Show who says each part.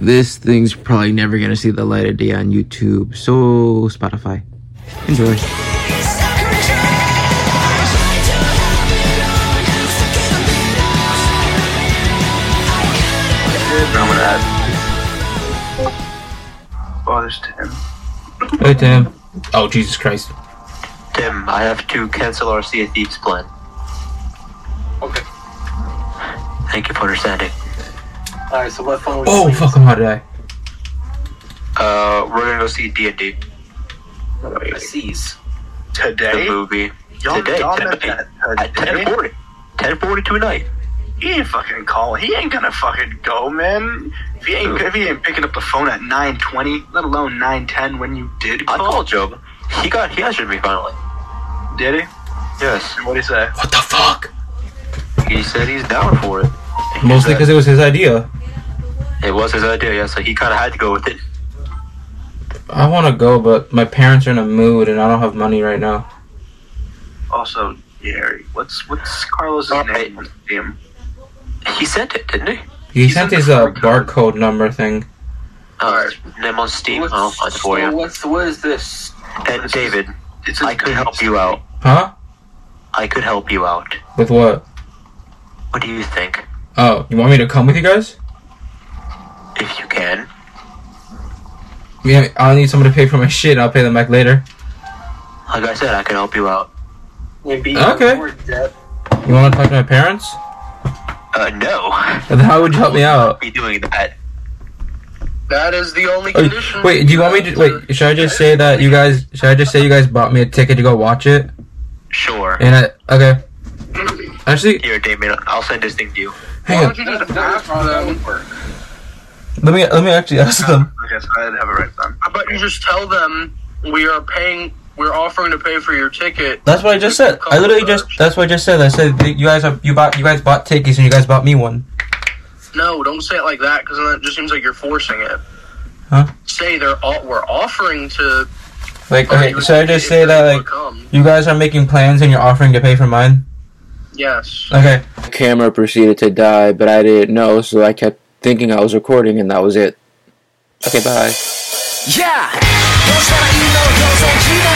Speaker 1: This thing's probably never gonna see the light of day on YouTube. So Spotify, enjoy.
Speaker 2: I'm gonna have- Oh, there's Tim.
Speaker 3: Hey, Tim. Oh, Jesus Christ.
Speaker 2: Tim, I have to cancel our Sea of Thieves plan.
Speaker 4: Okay.
Speaker 2: Thank you for understanding.
Speaker 4: Alright, so what phone?
Speaker 3: Oh, fuck, I'm hot today.
Speaker 2: Uh, we're gonna go see D&D
Speaker 4: Seas.
Speaker 2: the
Speaker 5: Today?
Speaker 2: movie
Speaker 5: Y'all,
Speaker 2: today,
Speaker 5: y'all met
Speaker 2: today,
Speaker 5: that
Speaker 2: at
Speaker 5: today?
Speaker 2: 10:40. 10:40 tonight.
Speaker 5: He ain't fucking calling. He ain't gonna fucking go, man. If he ain't, if he ain't picking up the phone at 9.20, let alone 9.10 when you did
Speaker 2: I
Speaker 5: call.
Speaker 2: called Job. He got he answered me finally.
Speaker 5: Did he?
Speaker 2: Yes,
Speaker 5: What'd he say?
Speaker 3: What the fuck?
Speaker 2: he said he's down for it. He
Speaker 3: Mostly
Speaker 2: said-
Speaker 3: because it was his idea.
Speaker 2: it was his idea. Yeah, so he kind of had to go with it.
Speaker 3: I want to go, but my parents are in a mood and I don't have money right now.
Speaker 5: Also, Gary, what's what's Carlos's
Speaker 2: All
Speaker 5: name? Damn.
Speaker 2: Uh, He sent it, didn't he?
Speaker 3: He sent his uh, barcode number thing.
Speaker 2: Uh, name on Steam.
Speaker 4: What's,
Speaker 2: I'll find it for you.
Speaker 4: What's what is this?
Speaker 2: And David,
Speaker 5: It's his
Speaker 2: I could help you out.
Speaker 3: Huh?
Speaker 2: I could help you out.
Speaker 3: With what?
Speaker 2: What do you think?
Speaker 3: Oh, you want me to come with you guys?
Speaker 2: If you can,
Speaker 3: Yeah, I'll need someone to pay for my shit. I'll pay them back later.
Speaker 2: like I said, I can help you out.
Speaker 4: Maybe
Speaker 3: Okay.
Speaker 4: more debt.
Speaker 3: You want to talk to my parents?
Speaker 2: Uh, no.
Speaker 3: Then how would you help me out?
Speaker 2: Be doing that.
Speaker 5: That is the only
Speaker 3: Oh, wait, do you want me to wait? Should I just say that you guys? Should I just say you guys bought me a ticket to go watch it?
Speaker 2: Sure.
Speaker 3: And I okay. Actually,
Speaker 2: Here, Damien, I'll send this thing to you.
Speaker 3: hang on.
Speaker 5: you
Speaker 4: That's- that's how that would work.
Speaker 3: Let me let me actually ask them.
Speaker 5: I guess I didn't have it right then.
Speaker 6: How about you just tell them we are paying, we're offering to pay for your ticket.
Speaker 3: That's what I just said. I literally just. That's what I just said. I said that you guys are you bought you guys bought tickets and you guys bought me one.
Speaker 6: No, don't say it like that because then it just seems like you're forcing it.
Speaker 3: Huh?
Speaker 6: Say they're all, we're offering to.
Speaker 3: Like okay, should I just say that like
Speaker 6: Come.
Speaker 3: you guys are making plans and you're offering to pay for mine?
Speaker 6: Yes.
Speaker 3: Okay.
Speaker 1: The camera proceeded to die, but I didn't know, so I kept thinking I was recording, and that was it. Okay, bye.
Speaker 7: Yeah! どうしたらいいのどうせ自分